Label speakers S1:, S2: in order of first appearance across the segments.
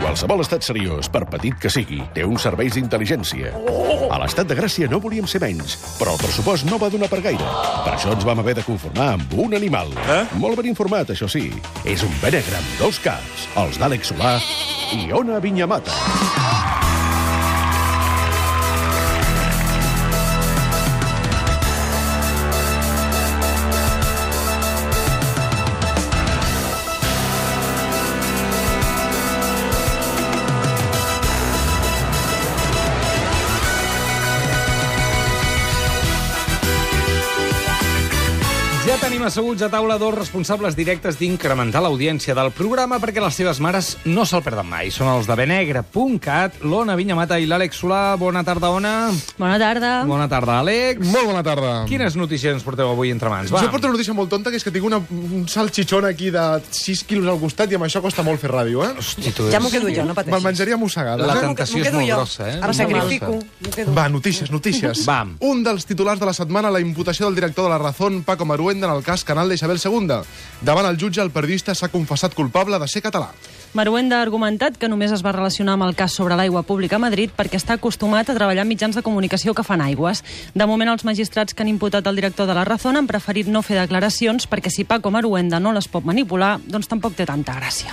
S1: Qualsevol estat seriós, per petit que sigui, té uns serveis d'intel·ligència. A l'estat de Gràcia no volíem ser menys, però el pressupost no va donar per gaire. Per això ens vam haver de conformar amb un animal. Eh? Molt ben informat, això sí. És un benegre amb dos caps, els d'Àlex Solà i Ona Vinyamata.
S2: Ja tenim asseguts a taula dos responsables directes d'incrementar l'audiència del programa perquè les seves mares no se'l perden mai. Són els de benegre.cat, l'Ona Vinyamata i l'Àlex Solà. Bona tarda, Ona.
S3: Bona tarda.
S2: Bona tarda, Àlex.
S4: Molt bona tarda.
S2: Quines notícies ens porteu avui entre mans?
S4: Jo porto una notícia molt tonta, que és que tinc una, un salchichón aquí de 6 quilos al costat i amb això costa molt fer ràdio, eh?
S2: Hosti, tu
S5: Ja m'ho
S2: ets...
S5: quedo jo, no
S4: Me'l
S5: pateixis.
S4: menjaria mossegada.
S2: La
S4: eh?
S2: tentació
S5: m'ho
S2: és
S5: quedo
S2: molt
S5: jo.
S2: grossa, eh?
S5: Em
S2: Molt
S5: sacrifico.
S2: grossa.
S5: m'ho quedo.
S4: Va, notícies, notícies.
S2: Vam.
S4: Un dels titulars de la setmana, la imputació del director de la Razón, Paco Maruenda, en el cas Canal d'Isabel II. Davant el jutge, el periodista s'ha confessat culpable de ser català.
S3: Maruenda ha argumentat que només es va relacionar amb el cas sobre l'aigua pública a Madrid perquè està acostumat a treballar en mitjans de comunicació que fan aigües. De moment, els magistrats que han imputat el director de la Razón han preferit no fer declaracions perquè si Paco Maruenda no les pot manipular, doncs tampoc té tanta gràcia.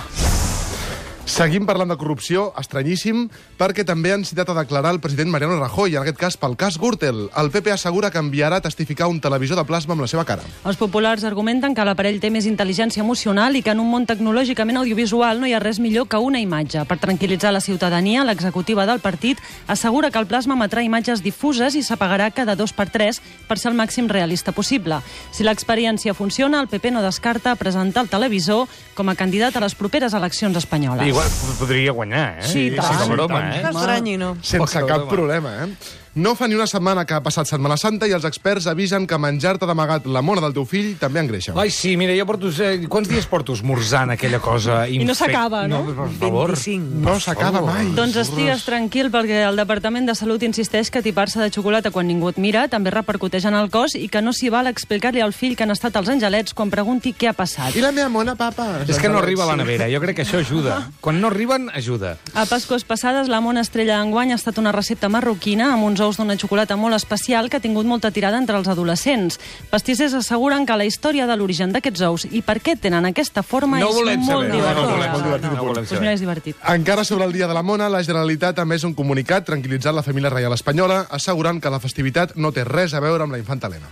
S4: Seguim parlant de corrupció, estranyíssim, perquè també han citat a declarar el president Mariano Rajoy, en aquest cas pel cas Gürtel. El PP assegura que enviarà a testificar un televisor de plasma amb la seva cara.
S3: Els populars argumenten que l'aparell té més intel·ligència emocional i que en un món tecnològicament audiovisual no hi ha res millor que una imatge. Per tranquil·litzar la ciutadania, l'executiva del partit assegura que el plasma emetrà imatges difuses i s'apagarà cada dos per tres per ser el màxim realista possible. Si l'experiència funciona, el PP no descarta presentar el televisor com a candidat a les properes eleccions espanyoles.
S2: Igual podria guanyar, eh?
S3: Sí, i tant.
S2: Sense
S3: Sí,
S2: broma,
S5: No
S2: eh?
S5: estranyi, no.
S4: Sense
S2: Poca
S4: cap
S2: broma.
S4: problema, eh? No fa ni una setmana que ha passat Setmana Santa i els experts avisen que menjar-te d'amagat la mort del teu fill també engreixa.
S2: Ai, sí, mira, jo porto... Eh, quants dies porto esmorzant aquella cosa?
S3: no
S2: infec-
S3: s'acaba, no?
S2: No, per favor.
S5: 25.
S4: No s'acaba
S2: oh.
S4: mai.
S3: Doncs estigues tranquil perquè el Departament de Salut insisteix que tipar-se de xocolata quan ningú et mira també repercuteix en el cos i que no s'hi val explicar-li al fill que han estat els angelets quan pregunti què ha passat.
S4: I la meva mona, papa?
S2: És que no arriba a la nevera. Jo crec que això ajuda. Quan no arriben, ajuda.
S3: A Pasques passades, la mona estrella d'enguany ha estat una recepta marroquina amb uns ous d'una xocolata molt especial que ha tingut molta tirada entre els adolescents. Pastissers asseguren que la història de l'origen d'aquests ous i per què tenen aquesta forma
S2: No
S3: és
S2: volem
S3: molt
S2: saber.
S3: divertida.
S2: No, no volem saber.
S3: No, no,
S2: No volem
S3: Doncs
S2: saber.
S3: mira, és divertit.
S4: Encara sobre el Dia de la Mona, la Generalitat ha emès un comunicat tranquil·litzant la família reial espanyola, assegurant que la festivitat no té res a veure amb la infanta Helena.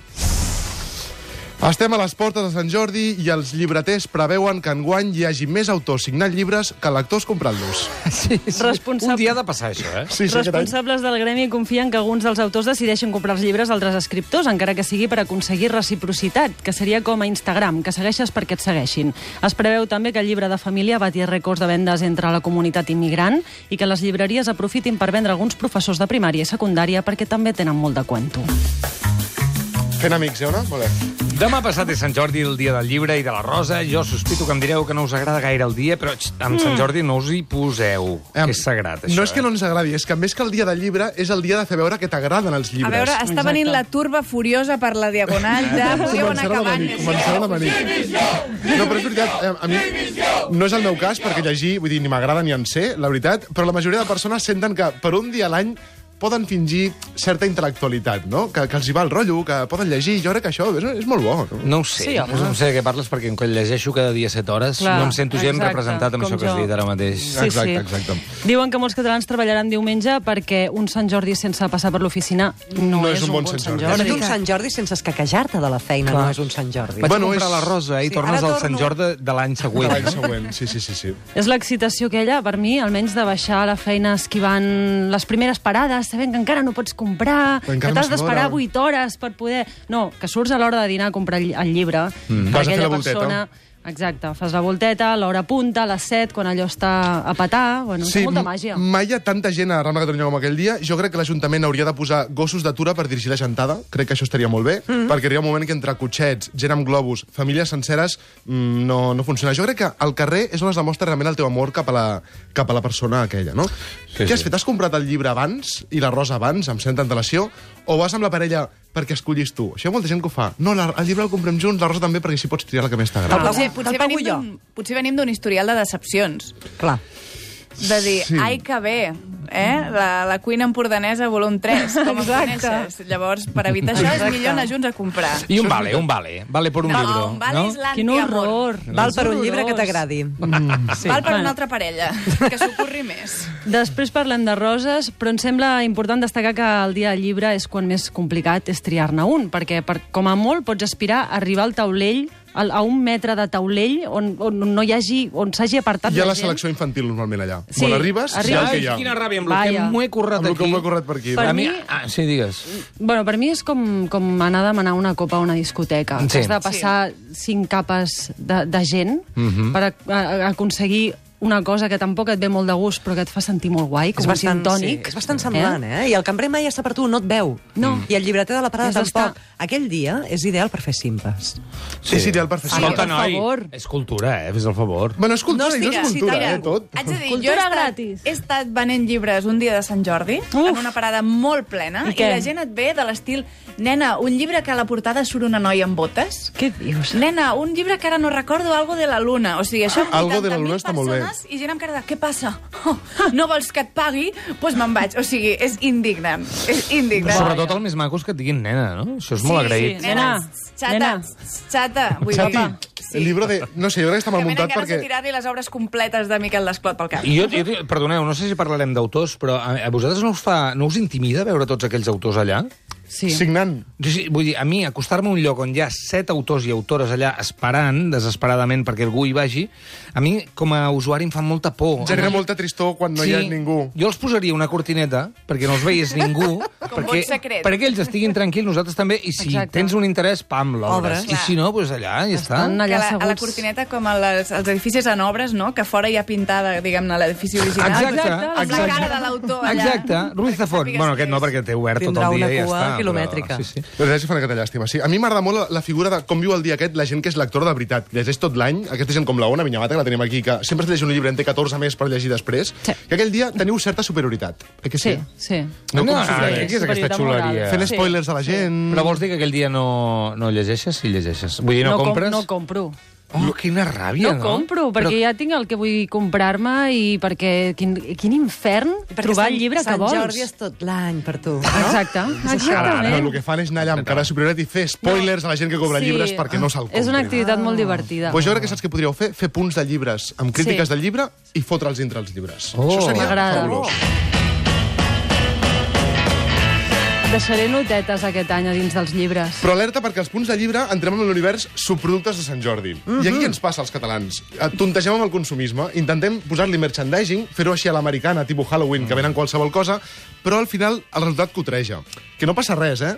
S4: Estem a les portes de Sant Jordi i els llibreters preveuen que enguany hi hagi més autors signant llibres que lectors comprant-los.
S2: Sí, sí.
S3: Responsable.
S2: Un dia ha de passar això, eh?
S4: Sí, aquest any.
S3: Responsables del gremi confien que alguns dels autors decideixen comprar els llibres d'altres escriptors, encara que sigui per aconseguir reciprocitat, que seria com a Instagram, que segueixes perquè et segueixin. Es preveu també que el llibre de família bati rècords de vendes entre la comunitat immigrant i que les llibreries aprofitin per vendre alguns professors de primària i secundària perquè també tenen molt de cuento.
S4: Fent amics, eh, Ona? Molt bé.
S2: Demà passat és Sant Jordi, el dia del llibre i de la rosa. Jo sospito que em direu que no us agrada gaire el dia, però xt, amb Sant Jordi no us hi poseu.
S4: Em,
S2: Hmm. és sagrat, això.
S4: No és que
S2: eh?
S4: no ens agradi, és que més que el dia del llibre és el dia de fer veure que t'agraden els
S6: A
S4: llibres.
S6: veure, està venint la turba furiosa per la diagonal, ja podíeu anar
S4: Començarà a
S6: acabant.
S4: venir, començarà a venir. No, però és veritat, eh, a mi no és el meu cas, perquè llegir, vull dir, ni m'agrada ni en sé, la veritat, però la majoria de persones senten que per un dia a l'any poden fingir certa intel·lectualitat, no? Que, que els hi va el rotllo, que poden llegir, jo crec que això és, és molt bo. No?
S2: No ho sé,
S3: Sí, home.
S2: no sé de què parles, perquè quan llegeixo cada dia 7 hores
S3: Clar,
S2: no em sento gens
S3: exacte,
S2: representat amb
S3: com
S2: això que has
S3: jo.
S2: dit ara mateix.
S3: Sí,
S4: Exacte,
S3: sí.
S4: exacte.
S3: Diuen que molts catalans treballaran diumenge perquè un Sant Jordi sense passar per l'oficina no,
S4: No
S3: és, un bon Sant Jordi.
S5: Però és un Sant Jordi sense escaquejar-te de la feina, no és un Sant Jordi.
S2: Vaig
S4: Bueno,
S2: comprar
S4: és-
S2: la rosa i
S5: Sí,
S2: tornes
S5: ara
S2: al Sant
S5: torno.
S2: Jordi de l'any següent.
S4: L'any següent, sí, sí, sí, sí.
S3: És l'excitació aquella, per mi, almenys de baixar a la feina esquivant les primeres parades, sabent que encara no pots comprar,
S4: Però encara
S3: que t'has
S4: no és
S3: d'esperar
S4: l'hora.
S3: 8 hores per poder... No, que surts a l'hora de dinar a comprar el el llibre mm. per
S4: Vas a fer
S3: aquella
S4: la volteta.
S3: persona... Exacte, fas la volteta, l'hora punta, a les 7, quan allò està a petar... Bueno, sí, molta
S4: m-
S3: màgia.
S4: Mai hi ha tanta gent a Rambla Catalunya com aquell dia. Jo crec que l'Ajuntament hauria de posar gossos d'atura per dirigir la gentada. Crec que això estaria molt bé,
S3: Mhm.
S4: mm -hmm. perquè hi ha un moment que entre cotxets, gent amb globus, famílies senceres, mm, no, no funciona. Jo crec que al carrer és on es demostra realment el teu amor cap a la, cap a la persona aquella, no? Sí, Què has
S2: sí.
S4: fet? Has comprat el llibre abans i la rosa abans, amb certa antelació, o vas amb la parella perquè escollis tu? Això hi ha molta gent que ho fa. No, la, el llibre el comprem junts, la rosa també, perquè així pots triar la que més t'agrada.
S5: pago-
S6: Potser,
S5: te'l
S6: potser,
S5: pago
S6: venim
S5: jo.
S6: eh, d'un- potser venim d'un historial de decepcions.
S5: Clar.
S6: de dir,
S4: Sí.
S6: sí. ai, que bé, eh? la, la cuina empordanesa volum 3, com em
S5: Exacte.
S6: coneixes. Llavors, per evitar això, és millor anar junts a comprar.
S2: I un vale, un vale. Vale per un
S6: No,
S2: llibre.
S6: un vale és la-
S3: Quin horror.
S5: Val per un llibre que
S3: Horrorós.
S5: t'agradi.
S2: Mm.
S6: Sí, Val per
S3: Bueno.
S6: una altra parella, que s'ocorri més.
S3: Després parlem de roses, però em sembla important destacar que el dia del llibre és quan més complicat és triar-ne un, perquè per, com a molt pots aspirar a arribar al taulell, al, a un metre de taulell on, on no hi hagi, on s'hagi apartat
S4: Hi ha
S3: la
S4: la
S3: gent.
S4: selecció infantil normalment allà.
S3: Sí,
S4: Quan arribes,
S3: arribes.
S4: ja el que
S2: Ai,
S4: hi ha.
S2: quina ràbia, amb el que
S3: Vaya.
S2: m'ho he currat
S4: Amb el
S2: aquí.
S4: que m'ho he currat per aquí.
S3: Per
S2: a
S3: mi-
S2: mi... Ah, sí, digues.
S3: Bueno, per mi és com, com anar a demanar una copa a una discoteca.
S2: Sí.
S3: Sí. Has de passar sí. cinc capes de, de gent mm
S4: Mhm.
S3: -hmm. per a, a, aconseguir una cosa que tampoc et ve molt de gust però que et fa sentir molt guai,
S2: Ah,
S3: com un gin tònic.
S5: sí, és bastant semblant, eh? I el cambrer mai està per tu, no et veu. No. I el llibreter de la parada
S3: Has d'estar-
S5: tampoc. Aquell dia és ideal per fer simpes.
S4: Sí. És ideal per fer
S3: Escolta,
S4: cinema.
S3: per favor.
S2: és cultura, eh? Fes el favor.
S4: Bueno, és cultura,
S5: No
S4: no, i no és
S5: estic
S4: cultura,
S5: excitada.
S4: eh, tot.
S6: Haig de dir, jo he
S3: Cultura
S6: estat,
S3: gratis.
S6: he estat venent llibres un dia de Sant Jordi, Uf. en
S3: Uf.
S6: una parada molt plena,
S3: I
S6: i, i
S3: què?
S6: la gent et ve de l'estil, nena, un llibre que a la portada surt una noia amb botes,
S3: Què dius?
S6: Nena, un llibre que ara no recordo, Algo de la Luna. O sigui, això amb
S4: Algo de la
S6: 80.000
S4: Luna està molt bé.
S6: persones I gent amb cara de, què passa? Oh, no vols que et pagui? Doncs pues me'n vaig. O sigui, és indigne. És indigne.
S2: Sobretot el més maco és que et diguin nena, no? Això és molt agraït.
S3: sí.
S6: Nena,
S3: Nena,
S6: xata,
S3: nena.
S6: xata. Vull dir,
S4: Xati,
S6: Sí.
S4: el llibre de... No sé, jo crec que està mal
S6: Que venen
S4: muntat
S6: ganes
S4: perquè...
S6: de tirar-li les obres completes de Miquel Desclot pel cap.
S2: I jo, jo, perdoneu, no sé si parlarem d'autors, però a, a vosaltres no us, fa, no us intimida veure tots aquells autors allà?
S3: Sí.
S4: Signant.
S2: O sigui, vull dir, a mi, acostar-me a un lloc on hi ha set autors i autores allà esperant, desesperadament, perquè algú hi vagi, a mi, com a usuari, em fa molta por.
S4: Genera molta tristor quan no hi ha ningú.
S2: Jo els posaria una cortineta perquè no els veies ningú, perquè,
S6: vot secret.
S2: perquè ells estiguin tranquils, nosaltres també, i si
S3: Exacte.
S2: tens un interès, pam, l'obres.
S5: Obres.
S2: I si no, doncs allà, ja està.
S3: Estan allà
S6: que la, a la
S3: asseguts.
S6: cortineta, com a les, els edificis en obres, no? que fora hi ha pintada, diguem-ne, l'edifici original.
S2: Exacte,
S6: Amb la
S2: exacte.
S6: cara de l'autor allà.
S2: Exacte, Ruiz de Font.
S6: Sàpigues
S2: Bueno,
S6: qui
S2: aquest no,
S6: és.
S2: perquè té obert
S5: Tindrà
S2: tot el dia
S5: una
S2: i ja
S5: cua
S2: està.
S5: quilomètrica.
S2: Però, sí, sí.
S4: La veritat és que fan aquesta llàstima, sí. A mi m'agrada molt la, la figura de com viu el dia aquest la gent que és lector de veritat. que Llegeix tot l'any, aquesta gent com la Ona Vinyamata, que la tenim aquí, que sempre es llegeix un llibre, en té 14 més per llegir després,
S3: Sí.
S4: que aquell dia teniu certa superioritat. Eh que sí?
S3: Sí, sí.
S2: No, no,
S4: com si-
S2: no,
S3: sí,
S2: què és aquesta
S3: superioritat moral.
S2: xuleria?
S4: Fent
S3: Sí.
S4: spoilers a la gent...
S2: Però vols dir que aquell dia no, no llegeixes? Sí, llegeixes. Vull dir, no,
S3: com-
S2: compres?
S3: No compro.
S2: Oh, quina ràbia,
S3: No,
S2: no?
S3: compro, perquè ja tinc el que vull comprar-me i perquè quin, quin infern trobar el llibre que
S5: Sant
S3: vols. Ah,
S5: Sant Jordi és tot l'any per tu.
S3: Exacte,
S4: No, el
S3: exactament.
S4: que fan és anar allà amb cara de superioritat i fer spoilers a la gent que cobra
S3: Sí.
S4: llibres perquè no se'l compri.
S3: És una activitat molt divertida.
S4: Pues jo crec que saps que podríeu fer? Fer punts de llibres amb crítiques sí. del llibre i fotre'ls dintre els llibres.
S2: Oh.
S4: Això seria
S3: M'agrada.
S4: fabulós.
S3: Deixaré notetes aquest any a dins dels llibres.
S4: Però alerta perquè els punts de llibre entrem en l'univers subproductes de Sant Jordi. Mm -hmm. I aquí
S3: Mhm.
S4: què ens passa als catalans. Eh, Tontegem amb el consumisme, intentem posar-li merchandising, fer-ho així a l'americana, tipus Halloween, que venen qualsevol cosa, però al final el resultat cotreja. Que no passa res, eh?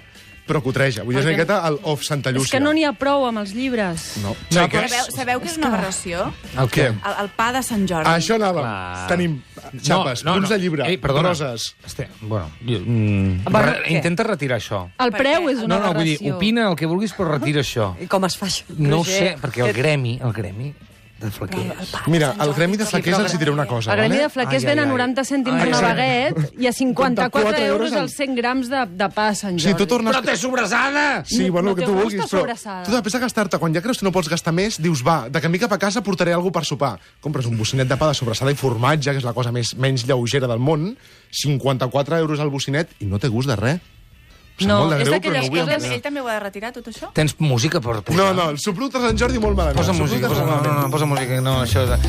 S4: Però cotreja. Vull dir, és una miqueta el off Santa Llúcia.
S3: És que no n'hi ha prou amb els llibres.
S4: No.
S2: No,
S4: no
S2: però-
S4: què?
S6: Sabeu, sabeu que és una aberració?
S2: El què?
S6: El, el pa de Sant Jordi.
S4: A això anàvem.
S2: Clar.
S4: Tenim xapes, no, no, punts de llibre,
S2: Ei, perdona.
S4: roses...
S2: Este, bueno, jo, mm,
S5: Va,
S2: re,
S5: què?
S2: intenta retirar això.
S3: El
S6: Per
S3: preu
S6: què?
S3: és
S2: No,
S3: una
S2: no, vull dir,
S3: aberració.
S2: opina el que vulguis, però retira això.
S5: I com es fa això?
S2: No ho sé,
S5: Roger?
S2: perquè el gremi, el gremi de flequers...
S4: Mira, al gremi de flequers els hi diré una cosa.
S3: El gremi de
S4: vale?
S3: flaquers
S2: Ai, ai,
S3: ven a
S2: ai.
S3: 90 cèntims
S2: Ai,
S3: una
S2: sí.
S3: baguet i a 54
S4: euros
S3: euros
S4: al-
S3: els 100 grams de, de pa a Sant
S4: Si tu
S3: Jordi.
S4: tornes...
S2: Però té sobressada!
S4: Sí,
S3: No-
S4: bueno,
S3: no
S4: el que
S3: té
S4: tu
S3: gust
S4: vulguis,
S3: de
S4: però
S3: sobrassada.
S4: tu després de gastar-te, quan ja creus que no pots gastar més, dius, va, de camí cap a casa portaré alguna per sopar. Compres un bocinet de pa de sobrassada i formatge, que és la cosa més menys lleugera del món, 54 euros al bocinet i no té gust de res. Em sap
S3: No,
S4: molt
S3: és
S4: de greu,
S3: d'aquelles
S4: però no
S6: Ell,
S4: vull
S6: també-
S4: opinar.
S6: ell també ho ha de retirar, tot això?
S2: Tens música per posar?
S4: No, no, el subproducte de Sant Jordi molt malament.
S2: Posa
S4: El
S2: música, posa,
S4: subproducte
S2: no,
S4: molt
S2: no, no,
S4: malament.
S2: posa música. No, això és...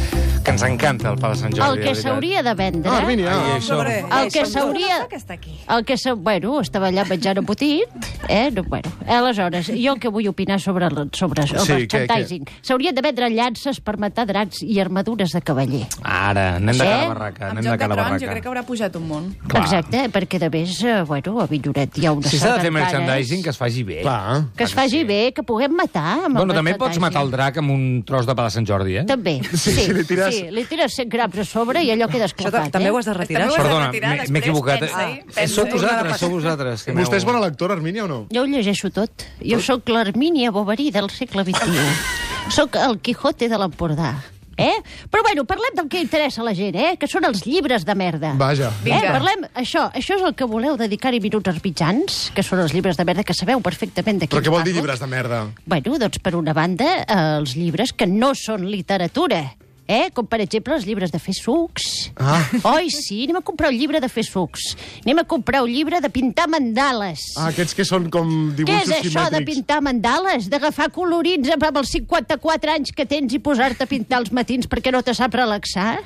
S2: Que ens encanta el pa de Sant Jordi.
S7: El
S2: de
S7: que
S2: veritat.
S7: s'hauria de vendre...
S4: Ah, Armínia.
S2: Ai,
S4: Ah,
S2: això...
S5: Sobre-
S7: El que
S5: Som
S7: s'hauria...
S6: que està aquí.
S7: El que s'ha... Bueno, estava allà menjant embotit, eh? No, bueno. Aleshores, jo el que vull opinar sobre, el- sobre el
S4: Sí,
S7: merchandising. S'haurien de vendre llances per matar dracs i armadures de cavaller.
S2: Ara, anem de
S7: Sí?
S2: cara a la barraca,
S6: Amb
S2: anem de
S6: Joc de
S2: cara a la
S6: Trons jo crec que
S2: barraca.
S6: haurà pujat un munt.
S2: Clar.
S7: Exacte, perquè de més, eh, bueno, a Villoret hi ha una
S2: Si s'ha de fer
S6: eh?
S2: merchandising, que es faci bé.
S4: Clar.
S7: que es faci bé, que puguem matar amb
S2: Bueno,
S7: el
S2: també pots
S7: merchandising.
S2: matar el drac amb un tros de pa de Sant Jordi, eh?
S7: També, sí, sí,
S4: si li tires-
S7: sí, li tires 100 grams a sobre i allò queda
S5: Això
S7: esclapat,
S5: ta- també
S7: eh?
S5: ho has de retirar.
S6: També ho
S5: això.
S6: has de
S2: Perdona,
S6: retirar,
S2: m'he- m'he
S6: després
S2: equivocat.
S6: pensa,
S2: eh?
S6: pensa.
S2: sou vosaltres,
S6: Pensa.
S2: sou vosaltres. que
S4: Vostè és
S2: aneu-
S4: bona lectora, Armínia, o no?
S7: Jo ho llegeixo tot. Jo sóc l'Armínia Bovary del segle XXI. sóc el Quijote de l'Empordà. Eh? Però bueno, parlem del que interessa a la gent, eh? que són els llibres de merda.
S4: Vaja.
S7: Eh?
S6: Vinga.
S7: Parlem, això, això és el que voleu dedicar-hi minuts als mitjans, que són els llibres de merda, que sabeu perfectament de què
S4: Però què vol dir
S7: parlo.
S4: llibres de merda?
S7: Bueno, doncs, per una banda, eh, els llibres que no són literatura. eh? com per exemple els llibres de fer sucs.
S4: Ah.
S7: Oi, sí, anem a comprar un llibre de fer sucs. Anem a comprar un llibre de pintar mandales.
S4: Ah, aquests que són com
S7: Què
S4: dibuixos
S7: és això de
S4: simètrics.
S7: pintar mandales? D'agafar colorins amb els 54 anys que tens i posar-te a pintar els matins perquè no te sap relaxar?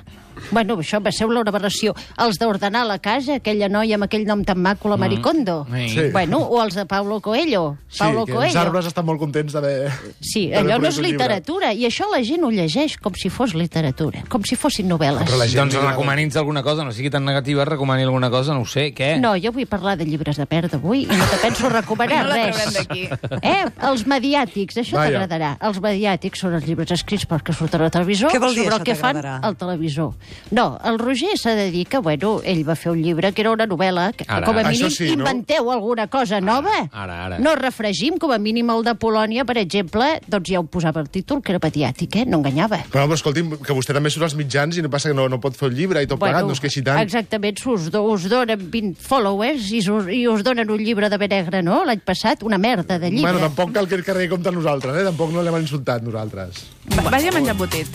S7: Bueno, això va ser una aberració. Els d'ordenar la casa, aquella noia amb aquell nom tan maco, la Maricondo.
S2: Sí.
S4: Sí.
S7: Bueno, o els de Paulo Coelho.
S4: Sí,
S7: Paulo
S4: que els
S7: Coelho.
S4: arbres estan molt contents d'haver...
S7: Sí,
S4: d'haver
S7: allò no
S4: produït
S7: és
S4: un llibre.
S7: literatura, i això la gent ho llegeix com si fos literatura, com si fossin novel·les.
S4: Però la gent
S2: Doncs
S4: li agrada.
S2: recomani'ns alguna cosa, no sigui tan negativa, recomani alguna cosa, no ho sé, què?
S7: No, jo vull parlar de llibres de perd avui i no te penso recomanar
S6: No la traurem
S7: res.
S6: d'aquí.
S7: Eh? Els mediàtics, això
S4: Vaja.
S7: t'agradarà. Els mediàtics són els llibres escrits perquè surten al televisor
S5: Què vol dir,
S7: sobre
S5: això
S7: el que fan
S5: t'agradarà?
S7: al televisor. No, el Roger s'ha de dir que, bueno, ell va fer un llibre que era una novel·la, que
S2: Ara,
S7: com a
S2: ara.
S7: mínim
S4: Això sí, no?
S7: inventeu alguna cosa nova.
S2: ara, ara.
S7: No refregim, com a mínim el de Polònia, per exemple, doncs ja ho posava el títol, que era mediàtic, eh? No enganyava.
S4: Però, però escolti'm, que vostè també surt als mitjans i no passa que no, no pot fer el llibre i tot plegat, no es queixi tant.
S7: Exactament, us, do, us donen 20 followers i us, i us donen un llibre de Benegre, no? L'any passat, una merda de llibre.
S4: Bueno, tampoc cal que el carrer compta nosaltres, eh? Tampoc no l'hem insultat nosaltres.
S6: Va- Vagi a menjar embotit.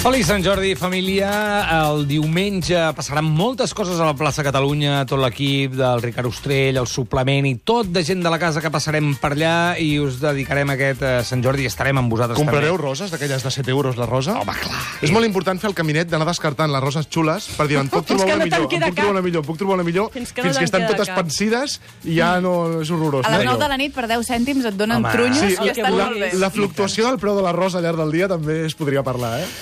S2: Feliç Sant Jordi, família. El diumenge passaran moltes coses a la plaça Catalunya, tot l'equip del Ricard Ostrell, el suplement i tot de gent de la casa que passarem per allà i us dedicarem aquest eh, Sant Jordi i estarem amb vosaltres
S4: Comprareu
S2: també.
S4: roses, d'aquelles de 7 euros la rosa? Home, clar. És molt important fer el caminet d'anar descartant les roses xules per dir, en puc
S3: Fins
S4: trobar
S3: que
S4: una
S3: no te'n
S4: millor,
S3: queda
S4: en puc trobar
S3: cap.
S4: una millor, en puc trobar una millor,
S3: Fins que no te'n
S4: estan
S3: queda
S4: totes
S3: cap.
S4: pensides i ja no és horrorós.
S6: A les
S4: no?
S6: 9 de la nit, per 10 cèntims, et donen
S2: Home.
S6: trunyos
S4: Sí,
S6: i
S4: la,
S6: estan molt bé.
S4: la, la fluctuació del preu de la rosa al llarg del dia també es podria parlar, eh?